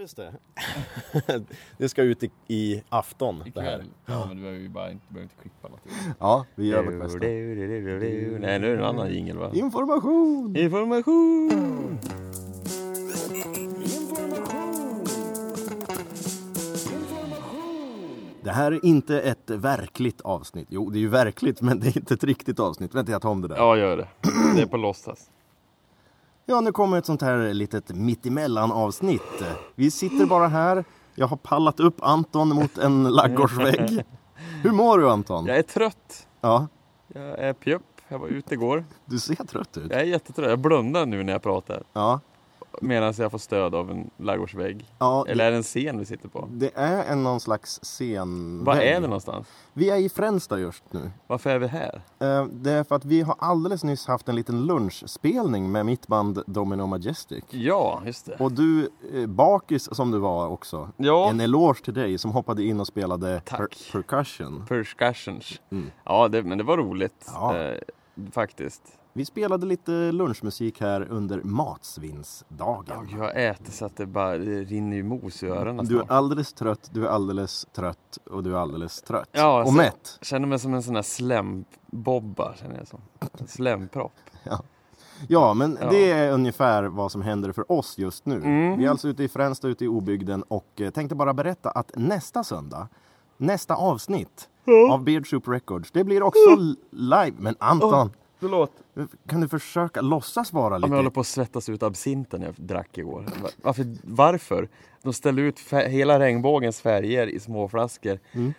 Just det. det ska ut i, i afton. Det här. Ikväll. Ja, men du behöver ju bara inte, behöver inte klippa något. Ja, vi gör vårt bästa. Nej, nu är det en annan jingel va? Information! Information! Det här är inte ett verkligt avsnitt. Jo, det är ju verkligt, men det är inte ett riktigt avsnitt. Vänta, jag tar om det där. Ja, Ja, gör det. Det är på låtsas. nu kommer ett sånt här litet mittemellan-avsnitt. Vi sitter bara här. Jag har pallat upp Anton mot en laggårdsvägg. Hur mår du Anton? Jag är trött. Ja, Jag är pjupp. Jag var ute igår. du ser trött ut. Jag är jättetrött. Jag blundar nu när jag pratar. Ja, Medan jag får stöd av en ladugårdsvägg. ja Eller det, är det en scen vi sitter på? det är en någon slags scen. Var är vi någonstans? Vi är i Fränsta just nu. Varför är vi här? Eh, Det är för att vi har alldeles nyss haft en liten lunchspelning med mitt band Domino Majestic. Ja, just det. Och du, eh, bakis som du var också, Ja, en eloge till dig som hoppade in och spelade Tack. per- percussion. percussions. Mm. Ja, det, men det var roligt. Ja. Eh, faktiskt. Vi spelade lite lunchmusik här under matsvinnsdagen. Jag har ätit så att det bara det rinner ju mos i öronen Du snart. är alldeles trött, du är alldeles trött och du är alldeles trött. Ja, och alltså- mätt. Känner mig som en sån här slembobba, känner jag som. En Slempropp. Ja, men Ja. det är ungefär vad som händer för oss just nu. Mm. Vi är alltså ute i Fränsta, ute i obygden och eh, tänkte bara berätta att nästa söndag, nästa avsnitt av Beard Soup Records, det blir också l- live. Men Anton, Mm. Förlåt. kan du försöka låtsas vara Ja, men jag håller lite... på att svettas ut absinten jag drack igår. Va- Varför? varför? De ställde ut fä- hela regnbågens färger i små flaskor. Mm.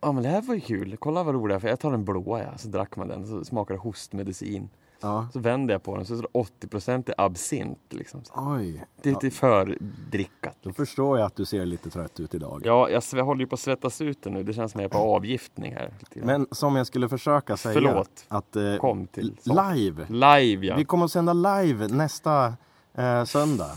Ja men det här var ju kul. Kolla vad roligt. Jag tar den blåa ja. Så drack man den. Så smakade det hostmedicin. Ja. Så vände jag på den. Så är det 80% är absint. Liksom. Så Oj, Det är lite för drickat. då förstår jag att du ser lite trött ut idag. Ja, jag sve- håller ju på att svettas ut den nu. Det känns som jag är på avgiftning här. lite grann. Men som jag skulle försöka säga, Förlåt. att eh, Kom till sak. live, Live ja. vi kommer att sända live nästa eh, söndag.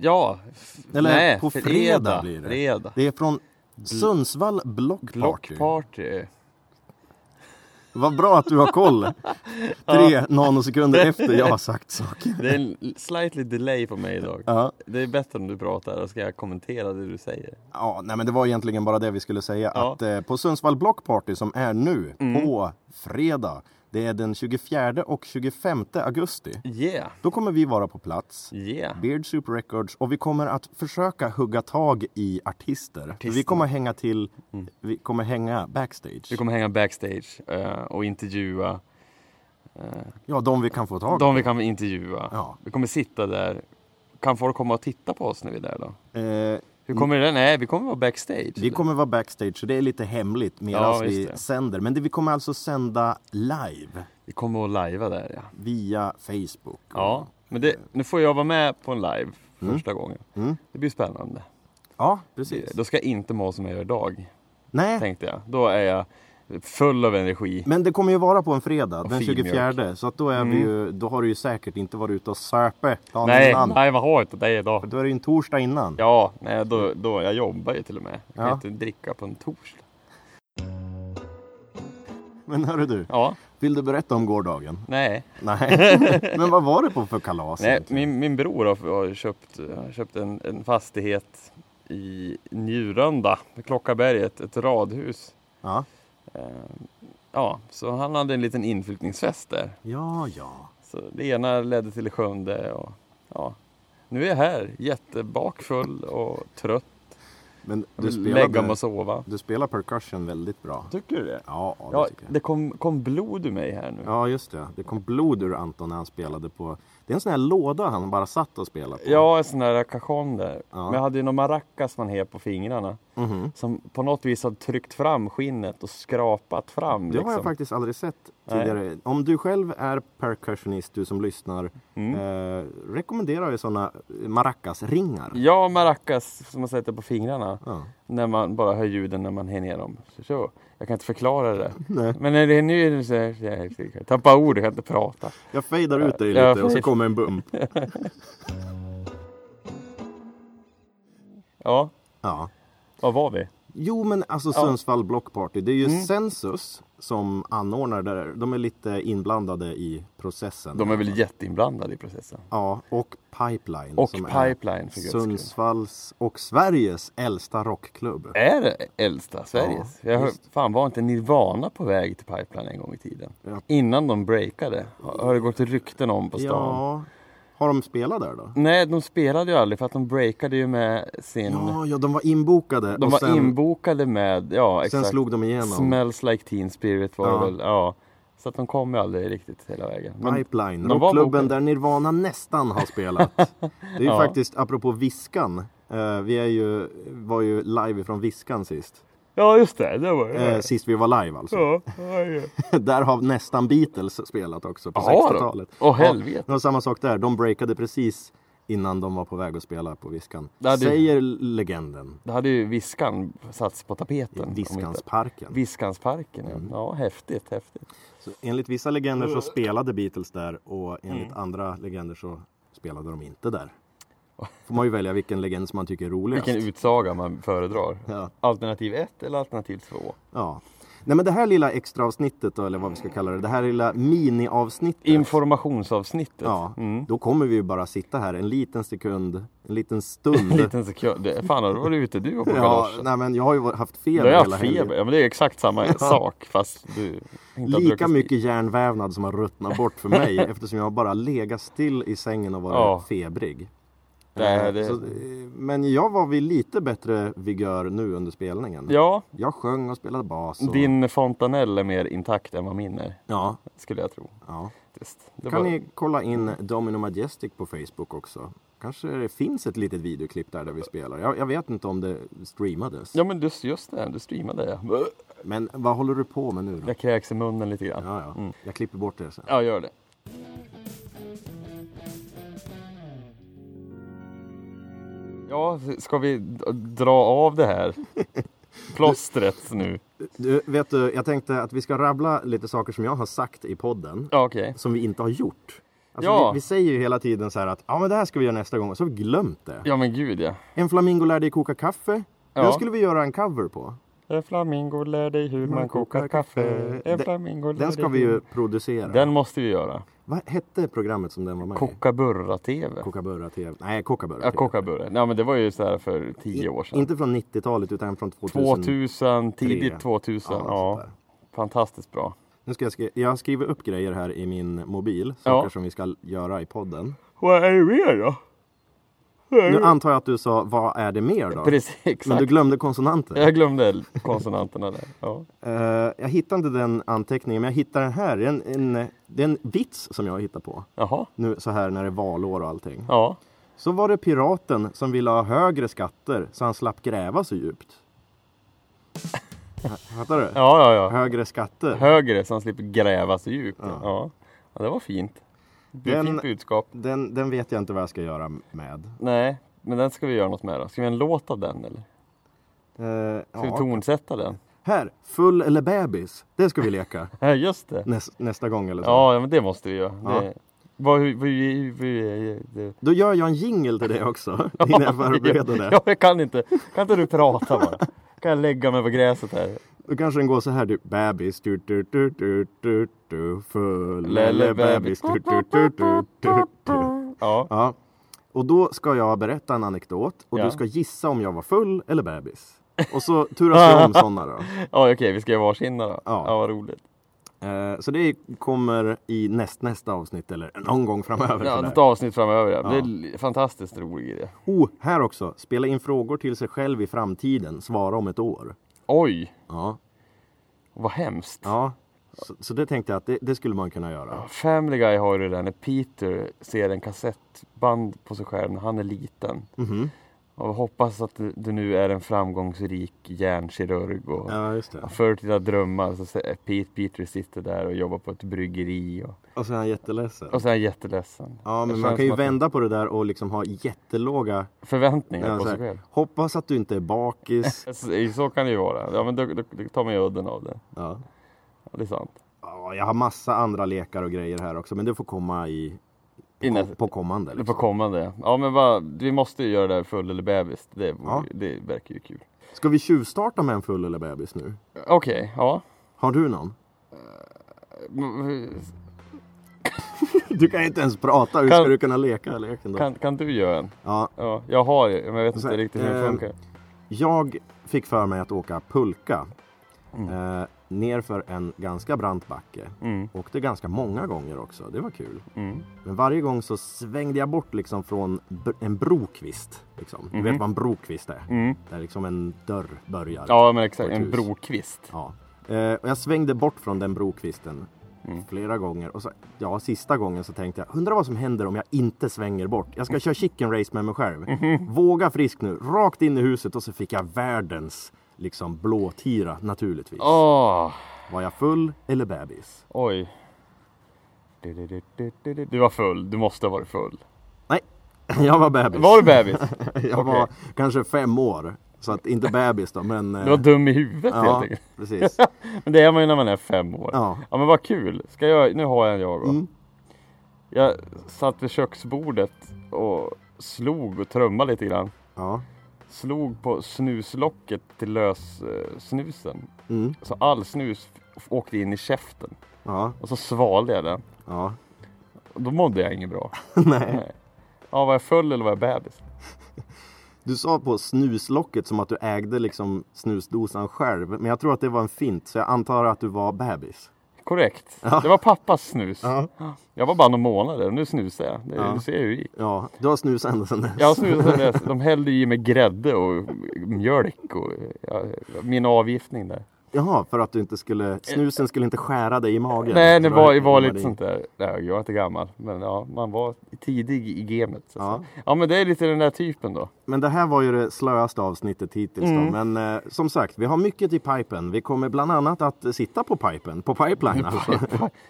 Ja. f- Eller nej, på fredag blir det. Fredag. Det är från Sundsvall Block Party. Blockparty. Vad bra att du har koll. Tre nanosekunder efter jag har sagt saker. Det är en slightly delay på mig idag. Ja. Det är bättre om du pratar, då ska jag kommentera det du säger. ja, nej men det var egentligen bara det vi skulle säga. Ja. Mm. Att eh, på Sundsvall Block Party som är nu på fredag. Det är den 24 och 25 augusti. Yeah, Då kommer vi vara på plats. yeah. Beard Soup Records och vi kommer att försöka hugga tag i artister. För Vi Artisterna. Mm. kommer hänga till, vi kommer hänga backstage. Vi kommer hänga backstage eh, och intervjua eh, Ja, de vi kan få tag de vi kan intervjua. Ja. Vi kommer sitta där. Kan folk komma och titta på oss när vi är där då? Eh, Hur kommer det? Nej, vi kommer vara backstage. Vi kommer vara backstage, så det är lite hemligt medan Ja, vi just det. sänder. Men det, vi kommer alltså sända live vi kommer att lajva där ja. via Facebook. Ja, men det, nu får jag vara med på en live första gången. Mm. Det blir spännande. Ja, precis. Då ska jag inte må som jag gör idag, Nej, tänkte jag. Då är jag full av energi. men det kommer ju vara på en fredag, den fin 24. Så att då, är vi ju, då har du ju säkert inte varit ute och söpe dagen Mm. Nej, innan. nej vad har jag inte dig idag? Då är det ju en torsdag innan. Ja, nej, då, då, jag jobbar ju till och med. Jag kan Ja. inte dricka på en torsdag. Men hörru du, Ja, vill du berätta om gårdagen? nej. Nej. men vad var det på för kalas? nej egentligen? min, min bror har, har köpt, har köpt en, en fastighet i Njurunda, vid Klockaberget, ett radhus. Ja. Eh, Ja, så han hade en liten inflyttningsfest där. ja, ja. Så det ena ledde till det sjunde och ja. Nu är jag här, jättebakfull och trött. Men du Lägga mig spelade, och sova. du spelar percussion väldigt bra. Tycker du det? Ja, det Ja, tycker jag. det kom, kom blod ur mig här nu. Ja, just det. Det kom blod ur Anton när han spelade på... Det är en sån här låda han bara satt och spelade på. Ja, en sån där cajon där. Ja. Men jag hade ju någon maracas man har på fingrarna. Mhm. Som på något vis hade tryckt fram skinnet och skrapat fram. Det liksom. har jag faktiskt aldrig sett Nej. tidigare. Om du själv är percussionist, du som lyssnar, Mm. eh, rekommenderar jag såna maracas-ringar. Ja, maracas som man sätter på fingrarna. Ja. När man bara hör ljuden när man har ner dem. Så, så. Jag kan inte förklara det. Nej. Men när det är nu är det så här, så här, så här. jag tappar ord, jag kan inte prata. Jag fejdar ut dig Ja, lite och så precis. kommer en bump. Ja, Ja. var var vi? Jo, men alltså Sundsvall Block Party. Det är ju Mm. Sensus som anordnar det där. De är lite inblandade i processen. De är väl jätteinblandade i processen. Ja, och Pipeline. Och som Pipeline för är guds skull. Sundsvalls och Sveriges äldsta rockklubb. Är det äldsta Sveriges? Ja, jag hör, visst. fan var inte Nirvana på väg till Pipeline en gång i tiden? Ja. Innan de breakade. Har har det gått rykten om på stan? Ja. Har de spelat där då? Nej, de spelade ju aldrig för att de breakade ju med sin... Ja, ja, de var inbokade. de och var sen, inbokade med, ja Sen exakt. slog de igenom. Smells like teen spirit var Ja. det väl, ja. Så att de kom ju aldrig riktigt hela vägen. Men Pipeline, de var rockklubben bokade. där Nirvana nästan har spelat. Det är ju Ja. faktiskt, apropå Viskan, eh, vi är ju, var ju live från Viskan sist. Ja, just det. Det var Eh, det. sist vi var live alltså. Ja, ja, ja. Där har nästan Beatles spelat också på Jaha då. 60-talet. Åh, helvete. Ja, det var samma sak där, de breakade precis innan de var på väg att spela på Viskan. Det hade- Säger legenden. Då hade ju Viskan satts på tapeten. om inte- Viskansparken. Viskansparken, ja. Mm. ja. Häftigt, häftigt. Så enligt vissa legender Mm. så spelade Beatles där och enligt andra legender så spelade de inte där. Får man ju välja vilken legend som man tycker är roligast. Vilken utsaga man föredrar. Ja. Alternativ 1 eller alternativ 2? Ja. Nej men det här lilla extra avsnittet då, eller vad vi ska kalla det, det här lilla miniavsnittet. Informationsavsnittet. ja, Mm. då kommer vi ju bara sitta här en liten sekund, en liten En stund. liten sekund. Det- Fan, har du varit ute du och på Mm. ja, galoschen? nej men jag har ju haft Du feber har ju hela haft helgen. feber. Ja, men det är exakt samma sak fast du inte har Lika druckit- mycket järnvävnad som har ruttnat bort för mig eftersom jag har bara legat still i sängen och varit Ja. febrig. Det är det. Så, eh, men jag var vid lite bättre vigör nu under spelningen. Ja, Jag sjöng och spelade bas. Och... din fontanell är mer intakt än vad min är. Ja, Skulle jag tro. ja. Just. Det kan var- ni kolla in Domino Majestic på Facebook också? Kanske det finns ett litet videoklipp där, där vi spelar. Jag, jag vet inte om det streamades. Ja men just, just det, du streamade ja. Men vad håller du på med nu då? Jag kräks i munnen lite grann. Ja, ja. Jag klipper bort det sen. Ja, gör det. Ja, ska vi d- dra av det här plåstret nu? Du, vet du, jag tänkte att vi ska rabbla lite saker som jag har sagt i podden. Ja, okej. Som vi inte har gjort. Alltså, Ja. vi, vi säger ju hela tiden så här att ja, men det här ska vi göra nästa gång och så har vi glömt det. Ja, men gud ja. En flamingo lär dig koka kaffe. Den Ja. skulle vi göra en cover på. En flamingo lär dig hur man kokar kaffe. En Den- flamingo lär Den ska dig vi hur- ju producera. Den måste vi göra. Vad hette programmet som den var med i? Kokaburra-TV. Kockaburra TV. Nej, Kockaburra Ja, TV. Kokaburra. Nej, men det var ju så här för tio år sedan. Inte från 90-talet utan från 2000. 2000, tidigt 2000. Ja, Ja, något sånt fantastiskt bra. Nu ska jag, skri- jag skriver upp grejer här i min mobil. Saker som vi ska göra i podden. Vad är det mer då? Nu antar jag att du sa, vad är det mer då? Precis, Men exakt. du glömde konsonanter. Jag glömde konsonanterna där. Ja. Eh, jag hittade inte den anteckningen, men jag hittade den här. Det är en, en, det är en vits som jag har hittat på. Jaha, Nu så här när det är valår och allting. ja. Så var det piraten som ville ha högre skatter så han slapp gräva så djupt. Fattar du? Ja, ja, ja. Högre skatter. Högre så han slipper gräva så djupt. Ja. Ja. det var fint. Det är Den- ett fint budskap. Den, den vet jag inte vad jag ska göra med. Nej, men den ska vi göra något med då. Ska vi göra en låt av den eller? Eh, Ska vi ja. tonsätta den? Här, full eller bebis. Det ska vi leka Ja, just det. Näs, nästa gång eller så. Ja, ja, men det måste vi göra. Ja. Det, vad, hur, hur, hur, hur, det. Då gör jag en jingle till det också. Innan jag förbereder det. Ja, jag kan inte. Kan inte du prata bara? Kan jag lägga mig på gräset här? Då kanske den går så här du. Bebis, du, du, du, du, du, du, full Lelle eller bebis. bebis. Du, du, du, du, du, du. Ja, Ja. Och då ska jag berätta en anekdot och Ja. du ska gissa om jag var full eller bebis. Och så turas vi om sådana då. ja okej, vi ska göra varsin då. Ja. Ja, vad roligt. Eh, så det kommer i näst, nästa avsnitt eller någon gång framöver. Ja, sådär. ett avsnitt framöver. Ja. Det är li- fantastiskt rolig idé. oh, här också! Spela in frågor till sig själv i framtiden. Svara om ett år. Oj, Ja. vad hemskt. ja. Så, så det tänkte jag att det, det skulle man kunna göra. Family Guy har ju det där när Peter ser en kassettband på sig själv när han är liten. Mhm. Och hoppas att du du nu är en framgångsrik hjärnkirurg och Ja, just det. har förtida drömmar. Så ser- Pete, Peter sitter där och jobbar på ett bryggeri och, Och så är han jätteledsen. och så är han jätteledsen. Ja, Det men känns man kan ju som att- vända på det där och liksom ha jättelåga... Förväntningar Ja, på så sig här, själv. hoppas att du inte är bakis. Så, så kan det ju vara. Ja, men då, då, då tar man ju udden av det. Ja. Ja, det är sant. Ja, jag har massa andra lekar och grejer här också, men det får komma i Innan- på kommande. På Liksom. kommande. Ja men vad, vi måste ju göra det här full eller bebis. Det, Ja. det verkar ju kul. Ska vi tjuvstarta med en full eller bebis nu? Okej, ja. Har du någon? Mm, Du kan inte ens prata, hur Kan- ska du kunna leka leken då? Kan, kan du göra en? Ja, Ja, jag har ju, men jag vet Så här, inte riktigt hur det eh, funkar. jag fick för mig att åka pulka. Eh, nerför en ganska brant backe. Mm, Åkte ganska många gånger också, det var kul. mm. Men varje gång så svängde jag bort liksom från br- en brokvist. Liksom. Du vet vad en brokvist är? Mhm. Mm. Där liksom en dörr börjar. Ja men exakt, På ett hus. en brokvist. Ja. Eh, och jag svängde bort från den brokvisten Mm. flera gånger. Och så, ja, sista gången så tänkte jag, undrar vad som händer om jag inte svänger bort. Jag ska köra chicken race med mig själv. Mhm. Våga frisk nu, rakt in i huset och så fick jag världens liksom blåtira naturligtvis. Åh, Var jag full eller bebis? Ah, oj. Du, du, du, du, du, du. du var full, du måste ha varit full. Nej, jag var bebis. Var du bebis? jag Okej. var kanske fem år. Så att inte bebis då, men... eh, Du var dum i huvudet helt ja, enkelt. precis. Men det är man ju när man är fem år. Ja. Mm. men vad kul. Ska jag, nu har jag en jag då. Jag satt vid köksbordet och slog och trummade lite grann. Ja. Slog på snuslocket till lös eh, snusen. Mm. Så all snus f- åkte in i käften. Ja. Och så svalde jag den. Ja. Och då mådde jag inget bra. Nej. Ja, var jag full eller var jag bebis? Du sa på snuslocket som att du ägde liksom snusdosan själv. Men jag tror att det var en fint, så jag antar att du var bebis. Korrekt. Det var pappas snus. Ja. Jag var bara några månader och nu snusar jag. Det, Du ser hur det gick. Ja, du har snus ända sedan dess. Jag har snusat sedan dess. De hällde i mig grädde och mjölk och ja, min avgiftning där. Jaha, för att du inte skulle, snusen skulle inte skära dig i magen. Nej, det Skulle var, du det var lite verkligen sånt där. Nej, jag var inte gammal, men ja, man var tidig i gamet. Så Ja. ja. ja, men det är lite den där typen då. Men det här var ju det slöaste avsnittet hittills då. Mm. Men eh, som sagt, vi har mycket i pipen. Vi kommer bland annat att sitta på pipen, på pipeline alltså.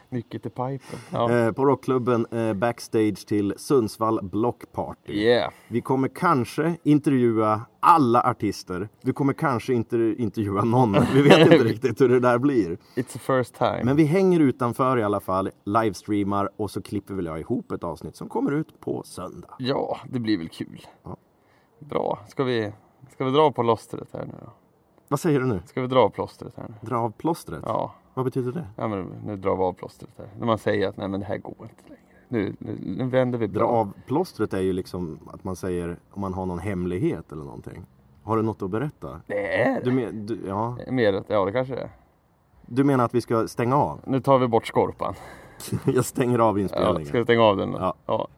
Nyckeln till pipen. Ja. Eh, På rockklubben eh, backstage till Sundsvall Block Party. Yeah. Vi kommer kanske intervjua alla artister. Vi kommer kanske inte intervjua någon. Vi vet inte riktigt hur det där blir. It's the first time. Men vi hänger utanför i alla fall, livestreamar och så klipper väl jag ihop ett avsnitt som kommer ut på söndag. Ja, det blir väl kul. Ja. Bra. Ska vi, ska vi dra på plåstret här nu då? Vad säger du nu? Ska vi dra av plåstret här nu? Dra av plåstret? Ja. Vad betyder det? ja men nu drar vi av plåstret här. När man säger att nej, men det här går inte längre. Nu, nu, nu vänder vi Dra blad. av plåstret är ju liksom att man säger om man har någon hemlighet eller någonting. Har du något att berätta? Det är Du, det. men, du, ja. Mer, att- ja, det kanske det är. du menar att vi ska stänga av? Nu tar vi bort skorpan. Jag stänger av Ja, ska inspelningen. vi stänga av den då? Ja. Ja.